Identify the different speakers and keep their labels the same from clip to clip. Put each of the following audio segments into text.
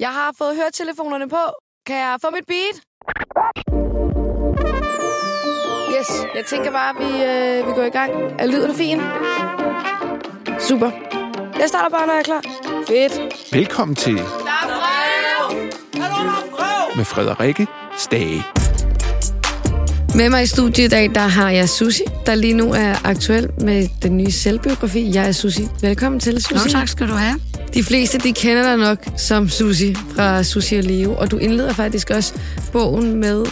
Speaker 1: Jeg har fået høretelefonerne på. Kan jeg få mit beat? Yes, jeg tænker bare, at vi, øh, vi går i gang. Er lyden fin? Super. Jeg starter bare, når jeg er klar. Fedt.
Speaker 2: Velkommen til med Frederikke Stage.
Speaker 1: Med mig i studiet i dag, der har jeg Susi, der lige nu er aktuel med den nye selvbiografi. Jeg er Susi. Velkommen til, Susi.
Speaker 3: Jo, tak skal du have.
Speaker 1: De fleste, de kender dig nok som Susi fra Susi og Leo, og du indleder faktisk også bogen med,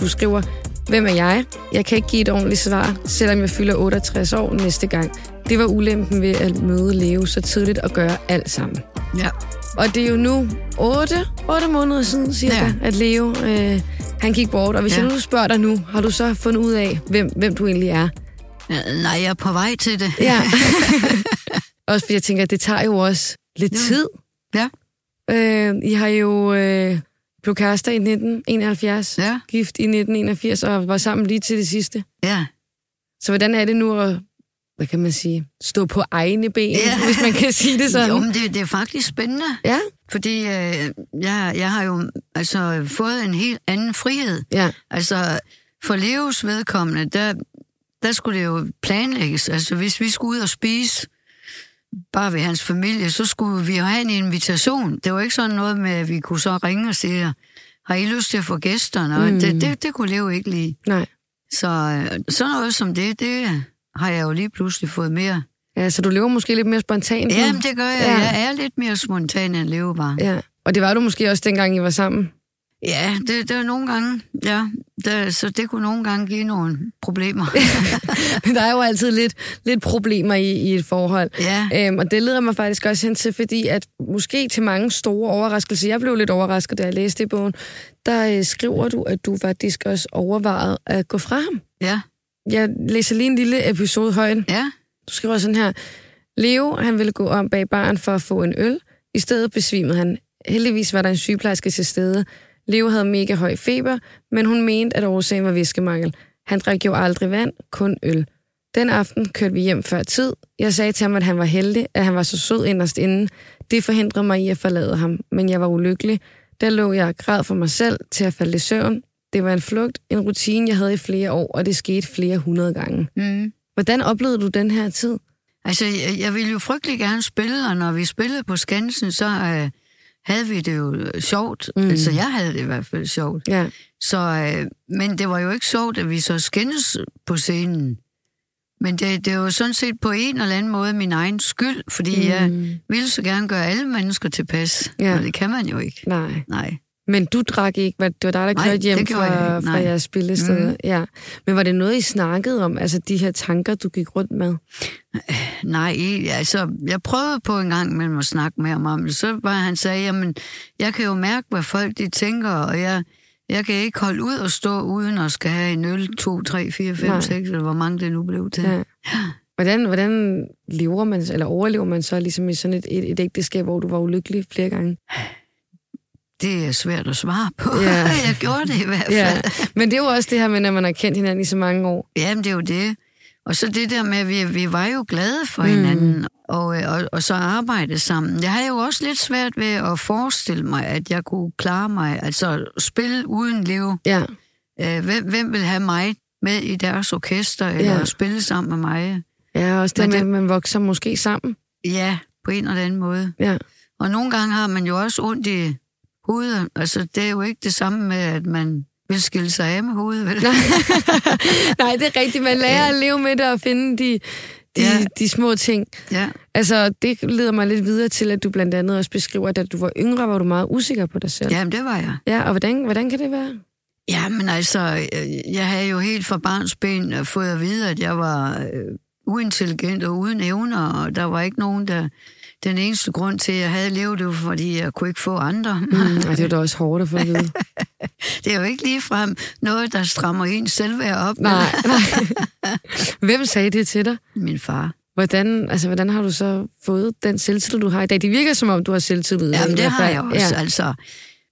Speaker 1: du skriver, Hvem er jeg? Jeg kan ikke give et ordentligt svar, selvom jeg fylder 68 år næste gang. Det var ulempen ved at møde Leo så tidligt og gøre alt sammen.
Speaker 3: Ja.
Speaker 1: Og det er jo nu 8, 8 måneder siden, cirka, ja.
Speaker 3: Ja.
Speaker 1: at Leo øh, han gik bort. Og hvis ja.
Speaker 3: Ja.
Speaker 1: jeg nu spørger dig nu, har du så fundet ud af, hvem, hvem du egentlig er?
Speaker 3: Øh, Nej, jeg er på vej til det.
Speaker 1: Ja. også fordi jeg tænker, at det tager jo også lidt
Speaker 3: Ja.
Speaker 1: ja. tid.
Speaker 3: Ja.
Speaker 1: Øh, I har jo øh, blev kærester i 1971,
Speaker 3: Ja.
Speaker 1: gift i 1981 og var sammen lige til det sidste.
Speaker 3: Ja.
Speaker 1: Så hvordan er det nu at, hvad kan man sige, stå på egne ben, ja.
Speaker 3: Ja.
Speaker 1: hvis man kan sige det sådan?
Speaker 3: Jo, men det, det er faktisk spændende,
Speaker 1: Ja,
Speaker 3: fordi øh, jeg, jeg har jo altså, fået en helt anden frihed.
Speaker 1: ja,
Speaker 3: Altså, for Leos vedkommende, der, der skulle det jo planlægges. Altså, hvis vi skulle ud og spise, bare ved hans familie, så skulle vi jo have en invitation. Det var ikke sådan noget med, at vi kunne så ringe og sige, har I lyst til at få gæsterne?
Speaker 1: Mm.
Speaker 3: Mm. Det, det, det kunne Leo ikke lide.
Speaker 1: nej.
Speaker 3: Så øh, sådan noget som det, det har jeg jo lige pludselig fået mere.
Speaker 1: Ja, så du lever måske lidt mere spontant nu.
Speaker 3: Jamen, det gør jeg.
Speaker 1: Mhm. Ja.
Speaker 3: Jeg er lidt mere spontan end levebar.
Speaker 1: Ja, og det var du måske også dengang, I var sammen.
Speaker 3: Ja, det, det er nogle gange, ja. Det, så det kunne nogle gange give nogle problemer.
Speaker 1: Men der er jo altid lidt, lidt problemer i, i et forhold.
Speaker 3: ja,
Speaker 1: Øhm, og det leder mig faktisk også hen til, fordi at måske til mange store overraskelser, jeg blev lidt overrasket, da jeg læste i bogen, der øh, skriver du, at du faktisk også overvejede at gå fra ham.
Speaker 3: ja,
Speaker 1: Jeg læser lige en lille episode højt.
Speaker 3: ja,
Speaker 1: Du skriver sådan her. Leo, han ville gå om bag baren for at få en øl. I stedet besvimede han. Heldigvis var der en sygeplejerske til stede. Leo havde mega høj feber, men hun mente, at årsagen var væskemangel. Han drak jo aldrig vand, kun øl. Den aften kørte vi hjem før tid. Jeg sagde til ham, at han var heldig, at han var så sød inderst inden. Det forhindrede mig i at forlade ham, men jeg var ulykkelig. Der lå jeg og græd for mig selv til at falde i søvn. Det var en flugt, en rutine, jeg havde i flere år, og det skete flere hundrede gange.
Speaker 3: mm.
Speaker 1: Hvordan oplevede du den her tid?
Speaker 3: Altså, jeg, jeg ville jo frygtelig gerne spille, og når vi spillede på Skansen, så øh, havde vi det jo øh, sjovt.
Speaker 1: Mm.
Speaker 3: Mm. Altså, jeg havde det i hvert fald sjovt.
Speaker 1: Ja,
Speaker 3: Så, øh, men det var jo ikke sjovt, at vi så skændes på scenen. Men det, det var sådan set på en eller anden måde min egen skyld, fordi mm. jeg ville så gerne gøre alle mennesker tilpas,
Speaker 1: Ja.
Speaker 3: ja. og det kan man jo ikke.
Speaker 1: nej.
Speaker 3: Nej.
Speaker 1: Men du drak ikke, hvad- det var dig, der
Speaker 3: Nej,
Speaker 1: kørte hjem
Speaker 3: det gjorde jeg
Speaker 1: fra,
Speaker 3: ikke, nej.
Speaker 1: fra jeres spillested. Mm.
Speaker 3: Mhm.
Speaker 1: Ja. Men var det noget, I snakkede om, altså de her tanker, du gik rundt med?
Speaker 3: Nej, ikke. altså, jeg prøvede på en gang med at snakke med ham om det. Så var han sagde, jamen, jeg kan jo mærke, hvad folk de tænker, og jeg, jeg kan ikke holde ud og stå uden at skal have en øl 2, 3, 4, 5,
Speaker 1: Nej.
Speaker 3: 6, eller hvor mange det nu blev til.
Speaker 1: Ja. Hvordan, hvordan lever man, eller overlever man så ligesom i sådan et, et, et ægteskab, hvor du var ulykkelig flere gange?
Speaker 3: Det er svært at svare på.
Speaker 1: Ja.
Speaker 3: jeg gjorde det i hvert fald.
Speaker 1: Ja. Men det er jo også det her med, når man har kendt hinanden i så mange år.
Speaker 3: Jamen, det er jo det. Og så det der med, at vi, vi var jo glade for hinanden, og, øh, og, og så arbejde sammen. Jeg havde jo også lidt svært ved at forestille mig, at jeg kunne klare mig, altså spille uden liv.
Speaker 1: Ja,
Speaker 3: Øh, hvem, hvem vil have mig med i deres orkester, eller
Speaker 1: Ja.
Speaker 3: spille sammen med mig?
Speaker 1: ja også det
Speaker 3: Men
Speaker 1: med,
Speaker 3: det-
Speaker 1: at man vokser måske sammen.
Speaker 3: Ja, på en eller anden måde.
Speaker 1: Ja.
Speaker 3: Og nogle gange har man jo også ondt i hovedet. Altså, det er jo ikke det samme med, at man vil skille sig af med hovedet, vel?
Speaker 1: Nej, det er rigtigt. Man lærer at leve med det og finde de, de, ja.
Speaker 3: Ja.
Speaker 1: de små ting.
Speaker 3: Ja.
Speaker 1: Altså, det leder mig lidt videre til, at du blandt andet også beskriver, at da du var yngre, var du meget usikker på dig selv.
Speaker 3: Jamen, det var jeg.
Speaker 1: ja og hvordan, hvordan kan det være?
Speaker 3: Mm. Ja, men altså, øh, jeg havde jo helt fra barnsben øh, fået at vide, at jeg var øh, uintelligent og uden evner, og der var ikke nogen, der... Den eneste grund til, at jeg havde levet, det var, fordi jeg kunne ikke få andre.
Speaker 1: Mm, og det er da også hårdt at få at vide.
Speaker 3: Det er jo ikke ligefrem noget, der strammer en selvværd op.
Speaker 1: nej, nej. Hvem sagde det til dig?
Speaker 3: Min far.
Speaker 1: Hvordan, altså, hvordan har du så fået den selvtillid, du har i dag? Det virker, som om du har selvtillid. i
Speaker 3: Jamen, det
Speaker 1: hvert
Speaker 3: har
Speaker 1: fald.
Speaker 3: jeg også, ja. altså.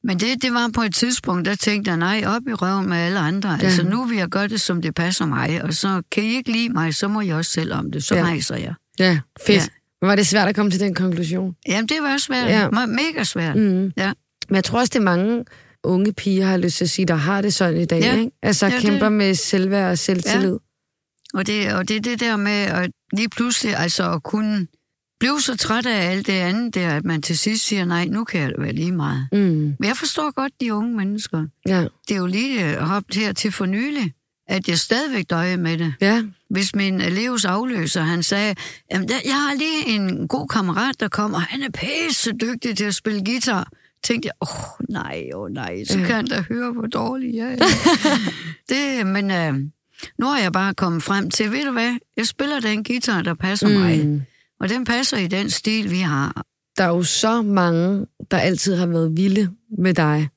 Speaker 3: Men det, det var på et tidspunkt, der tænkte jeg, nej, op i røven med alle andre. Ja. Altså, nu vil jeg gøre det, som det passer mig, og så kan I ikke lide mig, så må I også selv om det. Så
Speaker 1: Ja.
Speaker 3: ja. rejser jeg.
Speaker 1: Ja, fedt.
Speaker 3: Ja.
Speaker 1: Men var det svært at komme til den konklusion?
Speaker 3: Jamen, det var svært.
Speaker 1: Ja.
Speaker 3: Ja. Mega svært. Mm.
Speaker 1: Mm.
Speaker 3: Ja.
Speaker 1: Men jeg tror også, det er mange unge piger, har lyst til at sige, der har det sådan i dag,
Speaker 3: Ja.
Speaker 1: ikke? Altså
Speaker 3: Ja,
Speaker 1: ja, kæmper
Speaker 3: det-
Speaker 1: det... med selvværd og selvtillid.
Speaker 3: Og det, og det er det der med at lige pludselig altså at kunne blive så træt af alt det andet der, at man til sidst siger, nej, nu kan jeg være lige meget.
Speaker 1: Ja. Mm,
Speaker 3: Men jeg forstår godt de unge mennesker.
Speaker 1: ja.
Speaker 3: Det er jo lige øh, hoppet her til for nylig, at jeg stadigvæk døjer med det.
Speaker 1: ja.
Speaker 3: Hvis min elevs afløser, han sagde, Jamen, der, jeg har lige en god kammerat, der kommer, han er pisse dygtig til at spille guitar. Tænkte jeg, åh oh, nej, åh oh, nej, så kan han da høre, hvor dårlig jeg er. det, men øh, nu er jeg bare kommet frem til, ved du hvad, jeg spiller den guitar, der passer mm. mig.
Speaker 1: Mm.
Speaker 3: Og den passer i den stil, vi har.
Speaker 1: Der er jo så mange, der altid har været vilde med dig.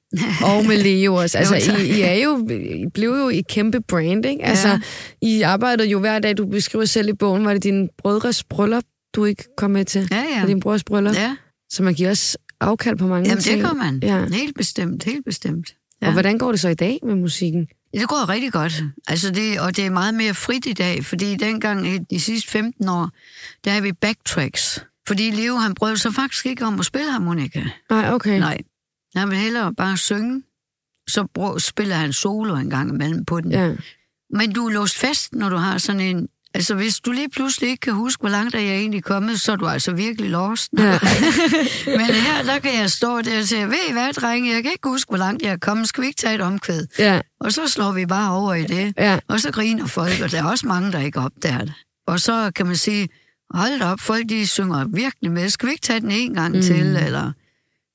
Speaker 1: og med Leo også. Altså,
Speaker 3: Jo, tak.
Speaker 1: I, I, er jo, I blev jo et kæmpe brand, ikke? Altså,
Speaker 3: Ja.
Speaker 1: ja. I arbejder jo hver dag. Du beskriver selv i bogen, var det din brødres bryllup, du ikke kom med til?
Speaker 3: Ja,
Speaker 1: Og
Speaker 3: ja.
Speaker 1: din brors bryllup?
Speaker 3: ja.
Speaker 1: Så man giver også afkald på mange
Speaker 3: Jamen,
Speaker 1: ting.
Speaker 3: det gør man.
Speaker 1: Ja.
Speaker 3: Helt bestemt, helt bestemt.
Speaker 1: Ja. Og hvordan går det så i dag med musikken?
Speaker 3: Det går rigtig godt. Altså det, og det er meget mere frit i dag, fordi dengang i de sidste 15 år, der er vi backtracks. Fordi Leo, han brød sig faktisk ikke om at spille harmonika.
Speaker 1: Nej, okay.
Speaker 3: Nej. Han vil hellere bare synge. Så brød, spiller han solo en gang imellem på den.
Speaker 1: Ja.
Speaker 3: Men du er låst fast, når du har sådan en... Altså, hvis du lige pludselig ikke kan huske, hvor langt er jeg egentlig kommet, så er du altså virkelig lost.
Speaker 1: Ja.
Speaker 3: Men her, der kan jeg stå der og sige, ved I hvad, drenge, jeg kan ikke huske, hvor langt jeg er kommet. Skal vi ikke tage et omkvæd?
Speaker 1: ja,
Speaker 3: Og så slår vi bare over i det.
Speaker 1: ja,
Speaker 3: Og så griner folk, og der er også mange, der ikke opdager det. Og så kan man sige, hold da op, folk de synger virkelig med. Skal vi ikke tage den en gang mm. til? Eller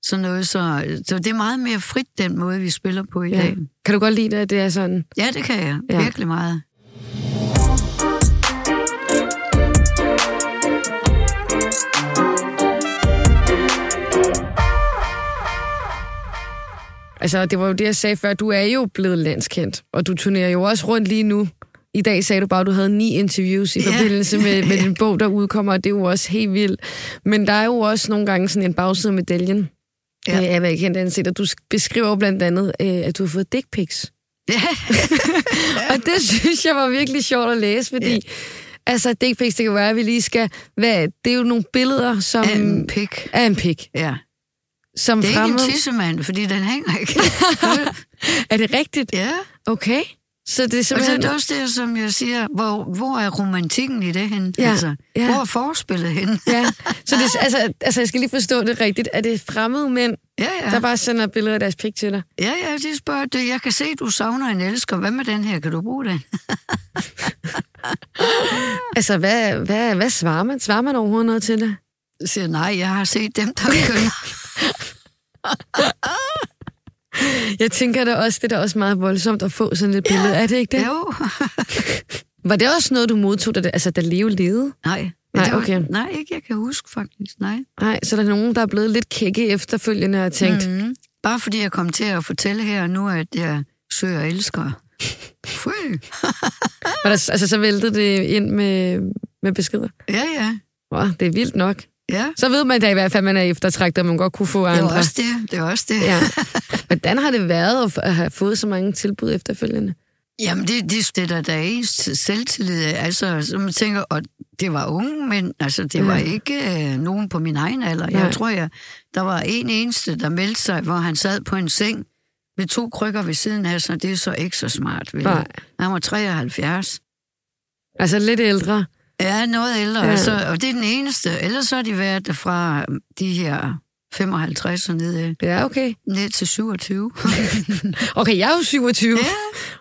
Speaker 3: sådan noget. Så, så det er meget mere frit, den måde, vi spiller på i ja.
Speaker 1: ja.
Speaker 3: dag.
Speaker 1: Kan du godt lide det, at det er sådan?
Speaker 3: Ja, det kan jeg. Ja.
Speaker 1: Ja.
Speaker 3: Virkelig meget.
Speaker 1: Altså, det var jo det, jeg sagde før. Du er jo blevet landskendt, og du turnerer jo også rundt lige nu. I dag sagde du bare, at du havde ni interviews i
Speaker 3: Ja.
Speaker 1: forbindelse med, med din bog, der udkommer, og det er jo også helt vildt. Men der er jo også nogle gange sådan en bagside af medaljen.
Speaker 3: Ja.
Speaker 1: Ja. Jeg vil ikke kendt ansigt, og du beskriver jo blandt andet, øh, at du har fået dick pics.
Speaker 3: Ja,
Speaker 1: Og det synes jeg var virkelig sjovt at læse, fordi... Ja. Altså, dick pics, det kan være, at vi lige skal... Hvad, det er jo nogle billeder, som...
Speaker 3: af en pik.
Speaker 1: af en pik.
Speaker 3: Ja.
Speaker 1: Som
Speaker 3: Det er ikke
Speaker 1: fremmed.
Speaker 3: en tissemand, fordi den hænger ikke.
Speaker 1: er det rigtigt?
Speaker 3: ja.
Speaker 1: Okay. Så det er
Speaker 3: Og så er
Speaker 1: simpelthen...
Speaker 3: det også det, som jeg siger, hvor, hvor er romantikken i det henne?
Speaker 1: Ja.
Speaker 3: Altså,
Speaker 1: Ja.
Speaker 3: Hvor er forspillet henne?
Speaker 1: Ja, så det, altså, altså, jeg skal lige forstå det rigtigt. Er det fremmede mænd,
Speaker 3: Ja,
Speaker 1: ja. der bare sender billeder af deres pik til dig?
Speaker 3: Ja, ja, de spørger, det. jeg kan se, du savner en elsker. Hvad med den her? Kan du bruge den?
Speaker 1: Altså, hvad, hvad, hvad svarer man? Svarer man overhovedet noget til det?
Speaker 3: Jeg siger, nej, jeg har set dem, der kønner.
Speaker 1: Jeg tænker da også, det er da også meget voldsomt at få sådan et billede. Ja. Er det ikke det?
Speaker 3: Jo,
Speaker 1: Var det også noget, du modtog, da, det- altså, da Leo levede?
Speaker 3: nej.
Speaker 1: Nej,
Speaker 3: Det var-
Speaker 1: okay.
Speaker 3: Nej, ikke jeg kan huske faktisk, nej.
Speaker 1: Nej, så er der nogen, der er blevet lidt kække efterfølgende og tænkt, mm.
Speaker 3: Mm-hmm. Bare fordi jeg kom til at fortælle her og nu, at jeg søger elsker. Fy.
Speaker 1: var der, altså, så væltede det ind med, med beskeder.
Speaker 3: Ja, ja,
Speaker 1: Wow, det er vildt nok.
Speaker 3: ja.
Speaker 1: Så ved man da i hvert fald, at man er eftertragtet, og man godt kunne få
Speaker 3: Det
Speaker 1: andre.
Speaker 3: var også det, det var også det.
Speaker 1: Ja. Hvordan har det været at f- at have fået så mange tilbud efterfølgende?
Speaker 3: Jamen, det, det, det der, der er ens selvtillid. Altså, så man tænker, og det var unge men altså, det var
Speaker 1: Ja.
Speaker 3: ikke øh, nogen på min egen alder.
Speaker 1: Nej.
Speaker 3: Jeg tror, jeg, der var en eneste, der meldte sig, hvor han sad på en seng med to krykker ved siden af sig. Det er så ikke så smart, vel?
Speaker 1: Nej.
Speaker 3: Han var 73.
Speaker 1: Altså lidt ældre.
Speaker 3: Ja, noget ældre,
Speaker 1: Ja.
Speaker 3: ja. Så, og det er den eneste. Ellers så har de været fra øhm, de her 55 og ned, øh,
Speaker 1: Ja, okay.
Speaker 3: ned til 27.
Speaker 1: Okay, jeg er jo 27.
Speaker 3: ja,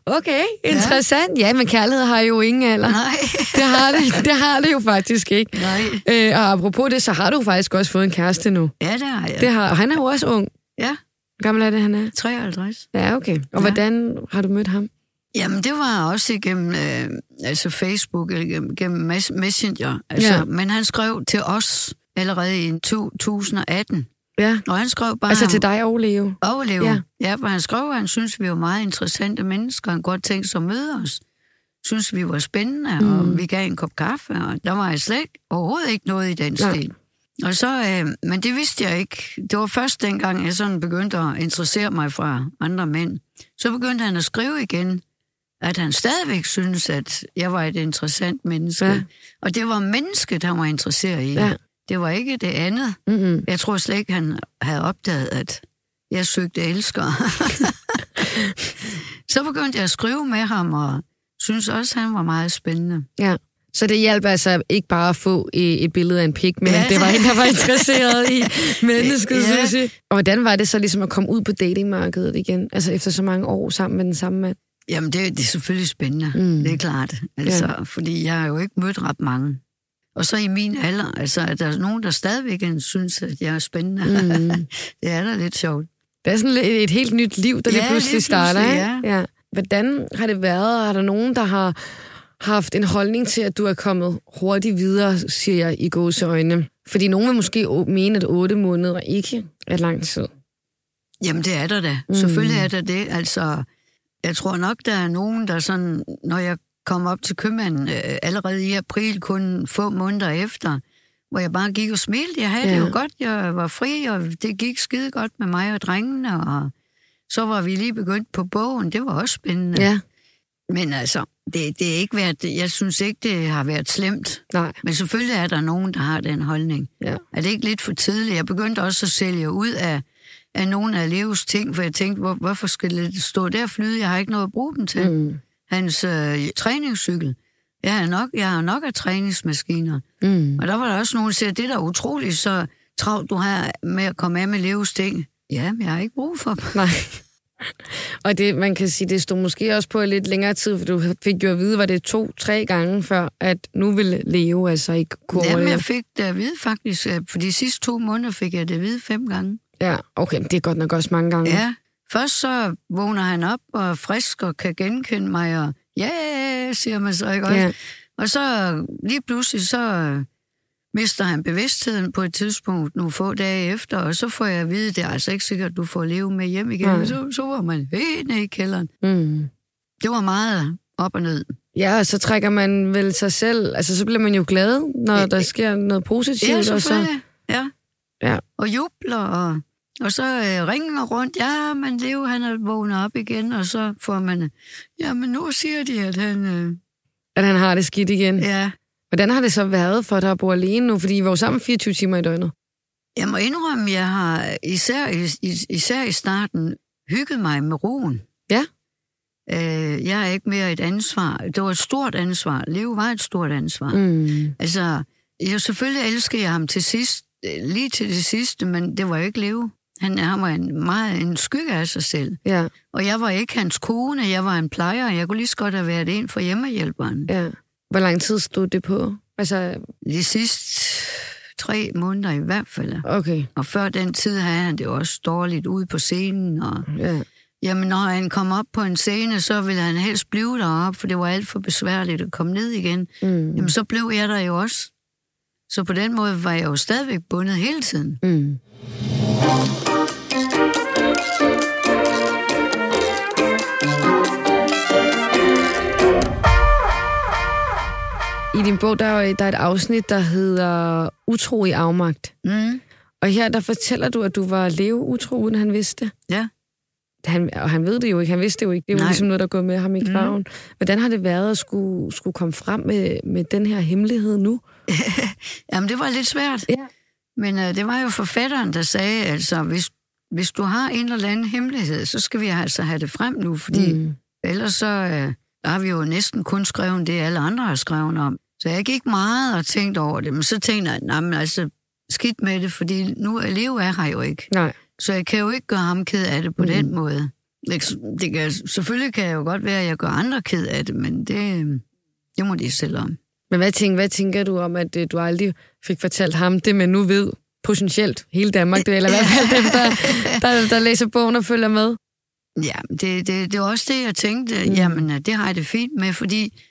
Speaker 1: Okay, interessant. Ja, men kærlighed har jo ingen alder.
Speaker 3: nej,
Speaker 1: Det har det, det, har det jo faktisk ikke.
Speaker 3: nej.
Speaker 1: Øh, og apropos det, så har du faktisk også fået en kæreste nu.
Speaker 3: Ja, det har jeg.
Speaker 1: Det har, og han er jo også ung.
Speaker 3: Ja,
Speaker 1: Hvor gammel er det, han er?
Speaker 3: 53.
Speaker 1: Ja, okay. Og
Speaker 3: Ja.
Speaker 1: hvordan har du mødt ham?
Speaker 3: Jamen, det var også igennem øh, altså Facebook, eller gennem, gennem mes- Messenger. Altså,
Speaker 1: Ja.
Speaker 3: ja. Men han skrev til os allerede i 2018.
Speaker 1: Ja,
Speaker 3: Og han skrev bare,
Speaker 1: altså til dig og Leo.
Speaker 3: overleve.
Speaker 1: Ja.
Speaker 3: Ja. ja, for han skrev, at han synes, vi var meget interessante mennesker. Han godt tænkte sig at møde os. Synes, vi var spændende, mm. og vi gav en kop kaffe. Og der var jeg slet ikke, overhovedet ikke noget i den
Speaker 1: Nej.
Speaker 3: stil. Og så, øh, men det vidste jeg ikke. Det var først dengang, jeg sådan begyndte at interessere mig fra andre mænd. Så begyndte han at skrive igen, at han stadigvæk synes, at jeg var et interessant menneske.
Speaker 1: Ja.
Speaker 3: Ja. Og det var mennesket, han var interesseret i.
Speaker 1: Ja.
Speaker 3: Det var ikke det andet.
Speaker 1: Mm-hmm.
Speaker 3: Jeg tror slet ikke, han havde opdaget, at jeg søgte elsker. så begyndte jeg at skrive med ham, og synes også, han var meget spændende.
Speaker 1: Ja. Så det hjalp altså ikke bare at få øh, et billede af en pik, men ja. det var en, der var interesseret i mennesket, ja.
Speaker 3: Ja.
Speaker 1: synes jeg. Og hvordan var det så ligesom at komme ud på datingmarkedet igen, altså efter så mange år sammen med den samme mand?
Speaker 3: Jamen, det, det er selvfølgelig spændende,
Speaker 1: Mm.
Speaker 3: mm. det er klart. Altså, ja. Fordi jeg har jo ikke mødt ret mange. Og så i min alder, altså, er der nogen, der stadigvæk synes, at jeg er spændende. Mm.
Speaker 1: Mm.
Speaker 3: det er da lidt sjovt.
Speaker 1: Det er sådan et, et helt nyt liv, der lige
Speaker 3: Ja,
Speaker 1: pludselig
Speaker 3: lige
Speaker 1: starter.
Speaker 3: pludselig,
Speaker 1: ikke? Ja. Hvordan har det været? og Har der nogen, der har haft en holdning til, at du er kommet hurtigt videre, siger jeg i gåseøjne? Fordi nogen vil måske å- mene, at otte måneder ikke er lang tid.
Speaker 3: Jamen, det er der da.
Speaker 1: Mm.
Speaker 3: Mm. Selvfølgelig er der det. Altså, jeg tror nok, der er nogen, der sådan, når jeg kom op til købmanden øh, allerede i april, kun få måneder efter, hvor jeg bare gik og smilte. Jeg havde ja. det
Speaker 1: Ja.
Speaker 3: jo godt, jeg var fri, og det gik skide godt med mig og drengene, og så var vi lige begyndt på bogen. Det var også spændende.
Speaker 1: Ja.
Speaker 3: Men altså, det, det er ikke været, jeg synes ikke, det har været slemt.
Speaker 1: Nej.
Speaker 3: Men selvfølgelig er der nogen, der har den holdning.
Speaker 1: Ja.
Speaker 3: Er det ikke lidt for tidligt? Jeg begyndte også at sælge ud af, af nogle af Leos ting, for jeg tænkte, hvor, hvorfor skal det stå der og flyde? Jeg har ikke noget at bruge dem til. Mm.
Speaker 1: Mm.
Speaker 3: Hans øh, træningscykel. Jeg har, nok, jeg har nok af træningsmaskiner.
Speaker 1: Mm.
Speaker 3: Og der var der også nogen, der siger, det er da utroligt, så travlt du har med at komme af med Leos ting. Ja, men jeg har ikke brug for dem.
Speaker 1: Nej. Og det, man kan sige, det stod måske også på lidt længere tid, for du fik jo at vide, var det to-tre gange før, at nu ville Leo altså ikke kunne
Speaker 3: Jamen,
Speaker 1: overleve.
Speaker 3: jeg fik det at vide faktisk, øh, for de sidste to måneder fik jeg det at vide fem gange.
Speaker 1: Ja, okay, men det er godt nok også mange gange.
Speaker 3: Ja, først så vågner han op og er frisk og kan genkende mig, og ja, yeah, siger man så, ikke også?
Speaker 1: Ja.
Speaker 3: Og så lige pludselig, så øh, mister han bevidstheden på et tidspunkt nogle få dage efter, og så får jeg at vide, det er altså ikke sikkert, at du får leve med hjem igen.
Speaker 1: Nej.
Speaker 3: Så, så var man helt nede i kælderen.
Speaker 1: Mm.
Speaker 3: Det var meget op og ned.
Speaker 1: Ja, og så trækker man vel sig selv, altså så bliver man jo glad, når
Speaker 3: Ja,
Speaker 1: der
Speaker 3: ja.
Speaker 1: sker noget positivt.
Speaker 3: Ja,
Speaker 1: og så,
Speaker 3: selvfølgelig. Ja.
Speaker 1: Ja.
Speaker 3: Og jubler, og, og så øh, ringer rundt. Ja, men Leo, han er vågnet op igen, og så får man... Ja, men nu siger de, at han... Øh,
Speaker 1: at han har det skidt igen. Ja.
Speaker 3: ja.
Speaker 1: Hvordan har det så været for dig at bo alene nu? Fordi I var jo sammen 24 timer i døgnet.
Speaker 3: Jeg må indrømme, jeg har især, i- i- især i starten hygget mig med roen.
Speaker 1: Ja.
Speaker 3: Øh, jeg er ikke mere et ansvar. Det var et stort ansvar. Leo var et stort ansvar.
Speaker 1: Mm.
Speaker 3: Altså, jeg selvfølgelig elsker jeg ham til sidst, øh, lige til det sidste, men det var jo ikke Leo. Han, han var en, meget en skygge af sig selv.
Speaker 1: Ja,
Speaker 3: Og jeg var ikke hans kone, jeg var en plejer, og jeg kunne lige så godt have været en for hjemmehjælperen.
Speaker 1: ja. Hvor lang tid stod det på? Altså,
Speaker 3: De sidste tre måneder i hvert fald.
Speaker 1: okay.
Speaker 3: Og før den tid havde han det jo også dårligt ude på scenen. Og,
Speaker 1: Ja.
Speaker 3: jamen, når han kom op på en scene, så ville han helst blive deroppe, for det var alt for besværligt at komme ned igen.
Speaker 1: Mm.
Speaker 3: Jamen, så blev jeg der jo også. Så på den måde var jeg jo stadigvæk bundet hele tiden.
Speaker 1: Mm. I din bog, der er, der er et afsnit, der hedder Utro i afmagt.
Speaker 3: Mm.
Speaker 1: Og her, der fortæller du, at du var leve utro, uden han vidste det.
Speaker 3: Ja.
Speaker 1: Han, og han ved det jo ikke, han vidste det jo ikke. Det er jo
Speaker 3: Nej. Mhm.
Speaker 1: ligesom noget, der går med ham i graven. Mm. Hvordan har det været at skulle, skulle komme frem med, med den her hemmelighed nu?
Speaker 3: Jamen, det var lidt svært.
Speaker 1: Ja.
Speaker 3: Men øh, det var jo forfatteren, der sagde, altså, hvis, hvis du har en eller anden hemmelighed, så skal vi altså have det frem nu, fordi mm. ellers så øh, har vi jo næsten kun skrevet det, alle andre har skrevet om. Så jeg gik meget og tænkte over det, men så tænkte jeg, nej, men altså, skidt med det, fordi nu er Leo er her jo ikke.
Speaker 1: Nej.
Speaker 3: Så jeg kan jo ikke gøre ham ked af det på mm. den måde. Ikke s- Det kan, selvfølgelig kan jeg jo godt være, at jeg gør andre ked af det, men det, øh, det må de selv om.
Speaker 1: Men hvad tænker, hvad tænker du om, at øh, du aldrig fik fortalt ham det, man nu ved potentielt hele Danmark, det, eller i hvert fald dem, der, der, der læser bogen og følger med?
Speaker 3: Ja, det, det, det er også det, jeg tænkte. Mm. Jamen, øh, det har jeg det fint med, fordi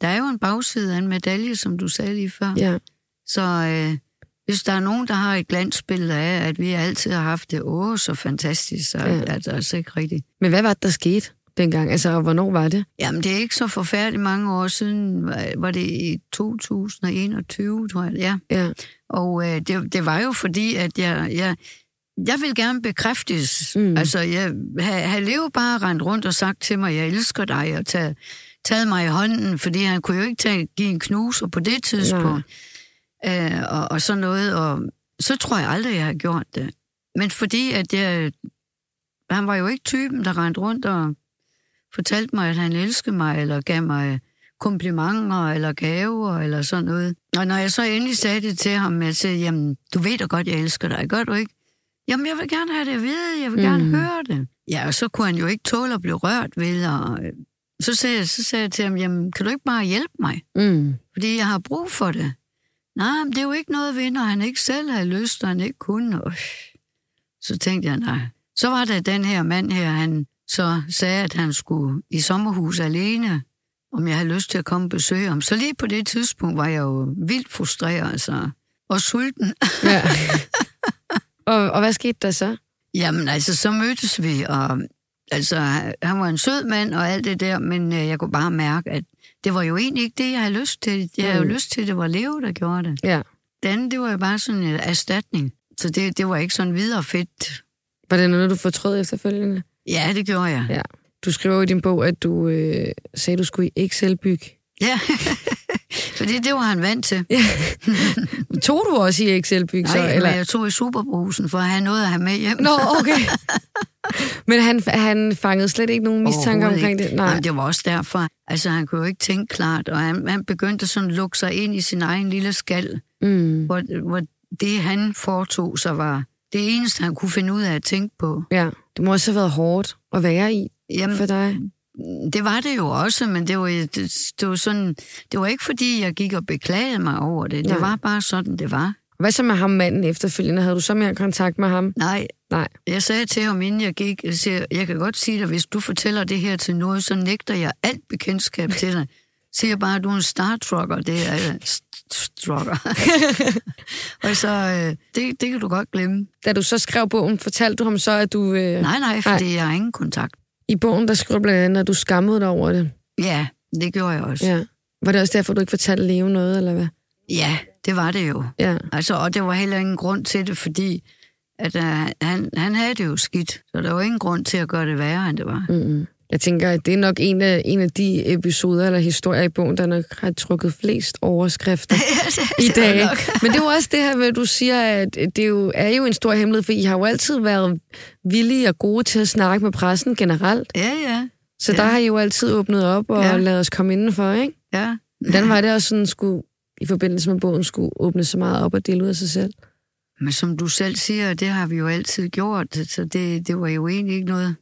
Speaker 3: der er jo en bagside af en medalje, som du sagde lige før.
Speaker 1: Ja.
Speaker 3: Så øh, hvis der er nogen, der har et glansbillede af, at vi altid har haft det, åh, så fantastisk, så
Speaker 1: Ja.
Speaker 3: ja. er det altså ikke rigtigt.
Speaker 1: Men hvad var det, der skete dengang? Altså, og hvornår var det?
Speaker 3: Jamen, det er ikke så forfærdeligt mange år siden. Var- Var det i 2021, tror jeg? Ja.
Speaker 1: Ja.
Speaker 3: Og øh, det, det var jo fordi, at jeg, jeg, jeg ville gerne bekræftes.
Speaker 1: Mm.
Speaker 3: Mm. Altså, jeg havde ha Leo bare rendt rundt og sagt til mig, jeg elsker dig, og taget, taget mig i hånden, fordi han kunne jo ikke tage, give en knuser på det tidspunkt. Øh, og, og sådan noget, og så tror jeg aldrig, jeg har gjort det. Men fordi, at jeg han var jo ikke typen, der rendte rundt og fortalte mig, at han elskede mig, eller gav mig komplimenter, eller gaver, eller sådan noget. Og når jeg så endelig sagde det til ham, jeg sagde, jamen, du ved da godt, jeg elsker dig, gør du ikke? Jamen, jeg vil gerne have det at vide, jeg vil gerne
Speaker 1: Mm.
Speaker 3: høre det. Ja, og så kunne han jo ikke tåle at blive rørt ved, og øh, så sagde, jeg- så sagde jeg til ham, jamen, kan du ikke bare hjælpe mig?
Speaker 1: Mm.
Speaker 3: Fordi jeg har brug for det. Nej, men det er jo ikke noget ved, når han ikke selv havde lyst, og han ikke kunne. Og så tænkte jeg, nej. Så var der den her mand her, han så sagde, at han skulle i sommerhus alene, om jeg havde lyst til at komme og besøge ham. Så lige på det tidspunkt var jeg jo vildt frustreret, altså. Og sulten.
Speaker 1: Ja. og, og hvad skete der så?
Speaker 3: Jamen altså, så mødtes vi, og altså, han var en sød mand og alt det der, men øh, jeg kunne bare mærke, at det var jo egentlig ikke det, jeg havde lyst til. Jeg havde jo
Speaker 1: Mm.
Speaker 3: lyst til, at det var Leo, der gjorde det.
Speaker 1: Ja.
Speaker 3: Det andet, det var jo bare sådan en erstatning. Så det, det var ikke sådan videre fedt.
Speaker 1: Var det noget, du fortrød efterfølgende?
Speaker 3: Ja, det gjorde jeg.
Speaker 1: Ja. Du skriver jo i din bog, at du øh, sagde, du skulle ikke selv bygge.
Speaker 3: Ja. Fordi det var han vant til.
Speaker 1: Tog du også i ikke selv bygge? så,
Speaker 3: Nej,
Speaker 1: eller?
Speaker 3: eller... jeg tog i superbrusen for at have noget at have med hjem.
Speaker 1: Nå, okay. Men han, han fangede slet ikke nogen mistanke
Speaker 3: Overhovedet
Speaker 1: omkring
Speaker 3: ikke.
Speaker 1: det? Nej.
Speaker 3: Jamen, det var også derfor. Altså, han kunne jo ikke tænke klart, og han, han begyndte sådan at lukke sig ind i sin egen lille skal,
Speaker 1: Mm.
Speaker 3: hvor, hvor det, han foretog sig, var det eneste, han kunne finde ud af at tænke på.
Speaker 1: Ja. Det må også have været hårdt at være i
Speaker 3: Jamen, mm.
Speaker 1: for dig.
Speaker 3: det var det jo også, men det var, det, det var sådan, det var ikke fordi, jeg gik og beklagede mig over det.
Speaker 1: Nej.
Speaker 3: Det var bare sådan, det var.
Speaker 1: Hvad så med ham manden efterfølgende? Havde du så mere kontakt med ham?
Speaker 3: Nej,
Speaker 1: Nej.
Speaker 3: jeg sagde til ham, inden jeg gik, jeg, siger, jeg kan godt sige dig, hvis du fortæller det her til noget, så nægter jeg alt bekendtskab til dig. Siger jeg bare, at du er en star trucker. Det er jeg. Strucker. og så, øh, det, det kan du godt glemme.
Speaker 1: Da du så skrev bogen, fortalte du ham så, at du... Øh,
Speaker 3: Nej, nej, fordi jeg har ingen kontakt.
Speaker 1: I bogen, der skrev du blandt andet, at du skammede dig over det.
Speaker 3: Ja, det gjorde jeg også. Ja,
Speaker 1: Ja. Var det også derfor, du ikke fortalte Leo noget, eller hvad?
Speaker 3: ja det var det jo.
Speaker 1: Ja.
Speaker 3: Altså, og der var heller ingen grund til det, fordi at, øh, han, han havde det jo skidt. Så der var ingen grund til at gøre det værre, end det var.
Speaker 1: Mm-mm. Jeg tænker, at det er nok en af, en af de episoder eller historier i bogen, der nok har trukket flest overskrifter i dag. ikke? Men det er jo også det her med, at du siger, at det jo, er jo en stor hemmelighed, for I har jo altid været villige og gode til at snakke med pressen generelt.
Speaker 3: Ja, ja,
Speaker 1: Så ja. der har I jo altid åbnet op og ja.
Speaker 3: Ja.
Speaker 1: lavet os komme indenfor, ikke?
Speaker 3: ja.
Speaker 1: Hvordan var det også sådan, skulle, i forbindelse med bogen, skulle åbne så meget op og dele ud af sig selv?
Speaker 3: Men som du selv siger, det har vi jo altid gjort, så det, det var jo egentlig ikke noget.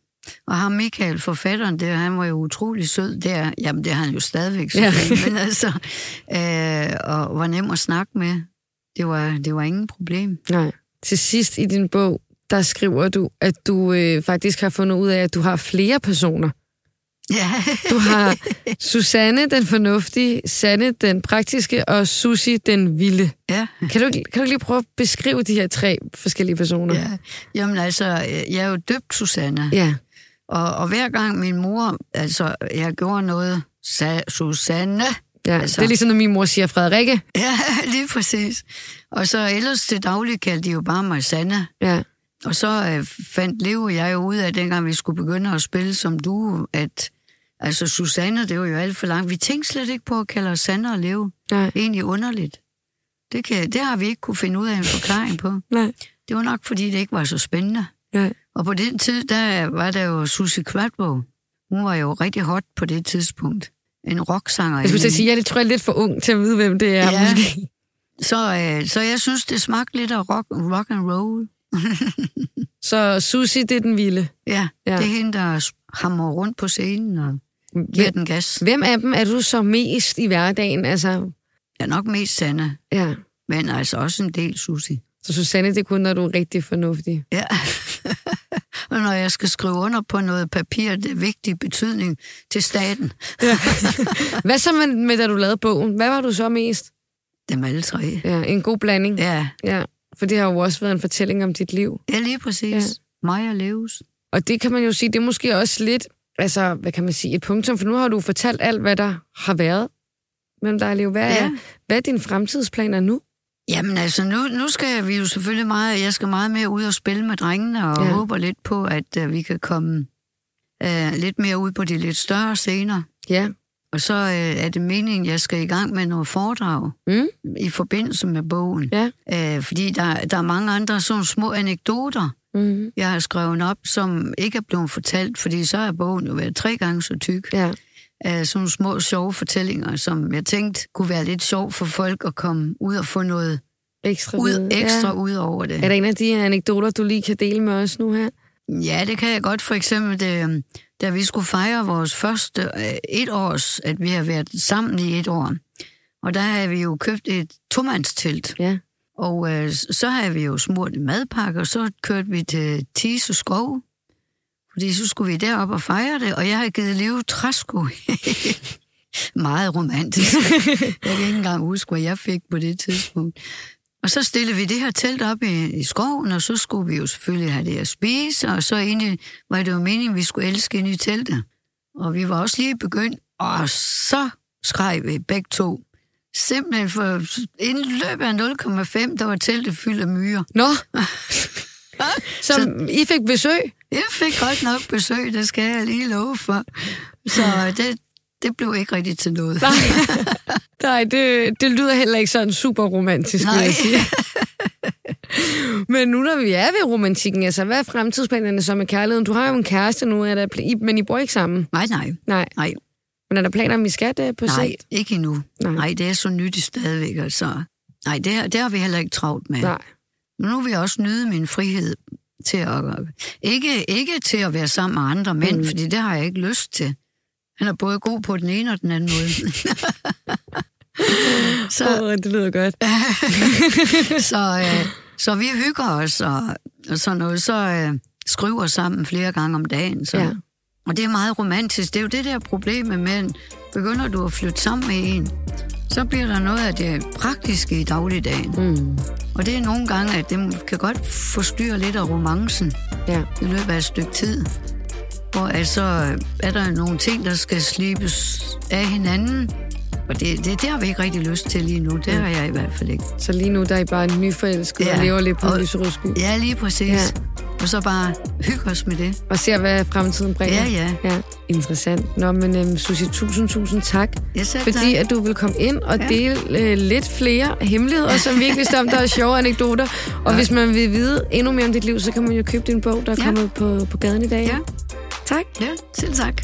Speaker 3: Og ham Michael, forfatteren, der, han var jo utrolig sød der. Jamen, det har han jo stadigvæk,
Speaker 1: Ja.
Speaker 3: selvfølgelig, men altså, øh, og var nem at snakke med. Det var, det var ingen problem.
Speaker 1: Nej. Til sidst i din bog, der skriver du, at du øh, faktisk har fundet ud af, at du har flere personer.
Speaker 3: Ja,
Speaker 1: Du har Susanne, den fornuftige, Sanne, den praktiske, og Susi, den vilde.
Speaker 3: ja.
Speaker 1: Kan du, ikke- kan du ikke lige prøve at beskrive de her tre forskellige personer?
Speaker 3: ja. Jamen altså, jeg er jo døbt, Susanne.
Speaker 1: ja.
Speaker 3: Og, og hver gang min mor, altså, jeg gjorde noget, sagde Susanne.
Speaker 1: ja.
Speaker 3: Altså-
Speaker 1: Det er ligesom, når min mor siger Frederikke.
Speaker 3: Ja, lige præcis. Og så ellers til daglig kaldte de jo bare mig Sanne.
Speaker 1: Ja.
Speaker 3: Og så øh, fandt Leo og jeg jo ud af, dengang vi skulle begynde at spille som duo, at altså Susanne, det var jo alt for langt. Vi tænkte slet ikke på at kalde os Sanne og Leo.
Speaker 1: Nej.
Speaker 3: Egentlig underligt. Det, kan, det har vi ikke kunne finde ud af en forklaring på.
Speaker 1: Nej.
Speaker 3: Det var nok, fordi det ikke var så spændende.
Speaker 1: Nej.
Speaker 3: Og på den tid, der var der jo Susie Quadbo. Hun var jo rigtig hot på det tidspunkt. En rocksanger.
Speaker 1: Jeg skulle til at sige, jeg tror, jeg er lidt for ung til at vide, hvem det er.
Speaker 3: Ja.
Speaker 1: Måske.
Speaker 3: Så, øh, så jeg synes, det smagte lidt af rock, rock and roll.
Speaker 1: Så Susi, det er den vilde.
Speaker 3: Ja,
Speaker 1: Ja.
Speaker 3: ja. det er hende, der hamrer rundt på scenen og giver
Speaker 1: Hvem,
Speaker 3: den gas.
Speaker 1: hvem af dem er du så mest i hverdagen? Altså,
Speaker 3: Jeg er nok mest Sanne,
Speaker 1: ja.
Speaker 3: men altså også en del Susi.
Speaker 1: Så Susanne, det er kun, når du er rigtig fornuftig.
Speaker 3: Ja. og når jeg skal skrive under på noget papir, det er vigtig betydning til staten.
Speaker 1: Hvad så med, med, da du lavede bogen? Hvad var du så mest?
Speaker 3: Dem alle tre.
Speaker 1: Ja, en god blanding.
Speaker 3: Ja,
Speaker 1: Ja, for det har jo også været en fortælling om dit liv.
Speaker 3: ja lige præcis.
Speaker 1: Ja.
Speaker 3: Ja. Mig og Leves.
Speaker 1: Og det kan man jo sige, det er måske også lidt, altså, hvad kan man sige, et punktum, for nu har du fortalt alt, hvad der har været mellem dig og Leo. Hvad, er,
Speaker 3: Ja.
Speaker 1: hvad er dine fremtidsplaner nu?
Speaker 3: Jamen altså, nu, nu skal vi jo selvfølgelig meget, jeg skal meget mere ud og spille med drengene, og
Speaker 1: Ja.
Speaker 3: ja. håber lidt på, at uh, vi kan komme uh, lidt mere ud på de lidt større scener.
Speaker 1: Ja.
Speaker 3: Og så øh, er det meningen, at jeg skal i gang med noget foredrag
Speaker 1: Mm?
Speaker 3: i forbindelse med bogen.
Speaker 1: Ja.
Speaker 3: Øh, fordi der, der er mange andre sådan små anekdoter,
Speaker 1: Mm-hmm.
Speaker 3: jeg har skrevet op, som ikke er blevet fortalt, fordi så er bogen jo været tre gange så tyk.
Speaker 1: Ja.
Speaker 3: af sådan nogle små sjove fortællinger, som jeg tænkte kunne være lidt sjov for folk at komme ud og få noget
Speaker 1: Ekstra
Speaker 3: ud,
Speaker 1: viden.
Speaker 3: ekstra
Speaker 1: Ja.
Speaker 3: ud over det.
Speaker 1: Er der en af de her anekdoter, du lige kan dele med os nu her?
Speaker 3: Ja, det kan jeg godt. For eksempel, det, øhm, da vi skulle fejre vores første øh, et års, at vi har været sammen i et år, og der havde vi jo købt et tomandstelt,
Speaker 1: Ja.
Speaker 3: og øh, s- så havde vi jo smurt en madpakke, og så kørte vi til Tise Skov, fordi så skulle vi derop og fejre det, og jeg havde givet liv træsko. Meget romantisk. jeg kan ikke engang huske, hvad jeg fik på det tidspunkt. Og så stillede vi det her telt op i, i skoven, og så skulle vi jo selvfølgelig have det at spise, og så egentlig var det jo meningen, at vi skulle elske ind i teltet. Og vi var også lige begyndt, og så skreg vi begge to. Simpelthen for inden løbet af 0,5, der var teltet fyldt af myrer.
Speaker 1: Nå! Som I fik besøg?
Speaker 3: Jeg fik godt nok besøg, det skal jeg lige love for. Så det, det blev ikke rigtigt til noget.
Speaker 1: Nej, Nej det, det lyder heller ikke sådan super romantisk, vil
Speaker 3: Nej.
Speaker 1: jeg sige. Men nu når vi er ved romantikken, altså hvad er fremtidsplanerne så med kærligheden? Du har jo en kæreste nu, er der, pl- I- men I bor ikke sammen.
Speaker 3: Nej, nej,
Speaker 1: Nej.
Speaker 3: nej.
Speaker 1: Men er der planer om, I skal det på
Speaker 3: Nej,
Speaker 1: sigt?
Speaker 3: ikke endnu.
Speaker 1: Nej.
Speaker 3: Nej. Nej, det er så nyt stadigvæk, altså. Nej, det, har- det har vi heller ikke travlt med.
Speaker 1: Nej.
Speaker 3: Men nu vil jeg også nyde min frihed til at... Ikke, ikke til at være sammen med andre mænd, mm. fordi det har jeg ikke lyst til. Han er både god på den ene og den anden måde. så,
Speaker 1: Åh, det lyder godt.
Speaker 3: så, øh, så vi hygger os og, og sådan noget. Så øh, skriver sammen flere gange om dagen. Så.
Speaker 1: Ja.
Speaker 3: Ja. Og det er meget romantisk. Det er jo det der problem med mænd. Begynder du at flytte sammen med en, så bliver der noget af det praktiske i dagligdagen.
Speaker 1: Mm.
Speaker 3: Og det er nogle gange, at det kan godt forstyrre lidt af romancen
Speaker 1: Ja.
Speaker 3: i løbet af et stykke tid. Og altså er der nogle ting, der skal slibes af hinanden. Og det, det, det har vi ikke rigtig lyst til lige nu.
Speaker 1: Mm.
Speaker 3: Det har jeg i hvert fald ikke.
Speaker 1: Så lige nu der er I bare nyforelsket ja. og
Speaker 3: Ja.
Speaker 1: lever lidt på
Speaker 3: Og-
Speaker 1: lyserød sky.
Speaker 3: Ja, lige præcis.
Speaker 1: Ja.
Speaker 3: Ja. Og så bare hygge os med det.
Speaker 1: Og ser, hvad fremtiden bringer.
Speaker 3: Ja, ja.
Speaker 1: ja. Interessant. Nå, men øhm, Susie, tusind, tusind tak.
Speaker 3: Jeg selv
Speaker 1: Fordi
Speaker 3: tak.
Speaker 1: at du vil komme ind og dele øh, lidt flere hemmeligheder, som vi ikke vidste om, der er sjove anekdoter. Og hvis man vil vide endnu mere om dit liv, så kan man jo købe din bog, der er
Speaker 3: Ja.
Speaker 1: kommet på, på gaden i dag.
Speaker 3: Ja.
Speaker 1: Tak.
Speaker 3: Ja, selv tak.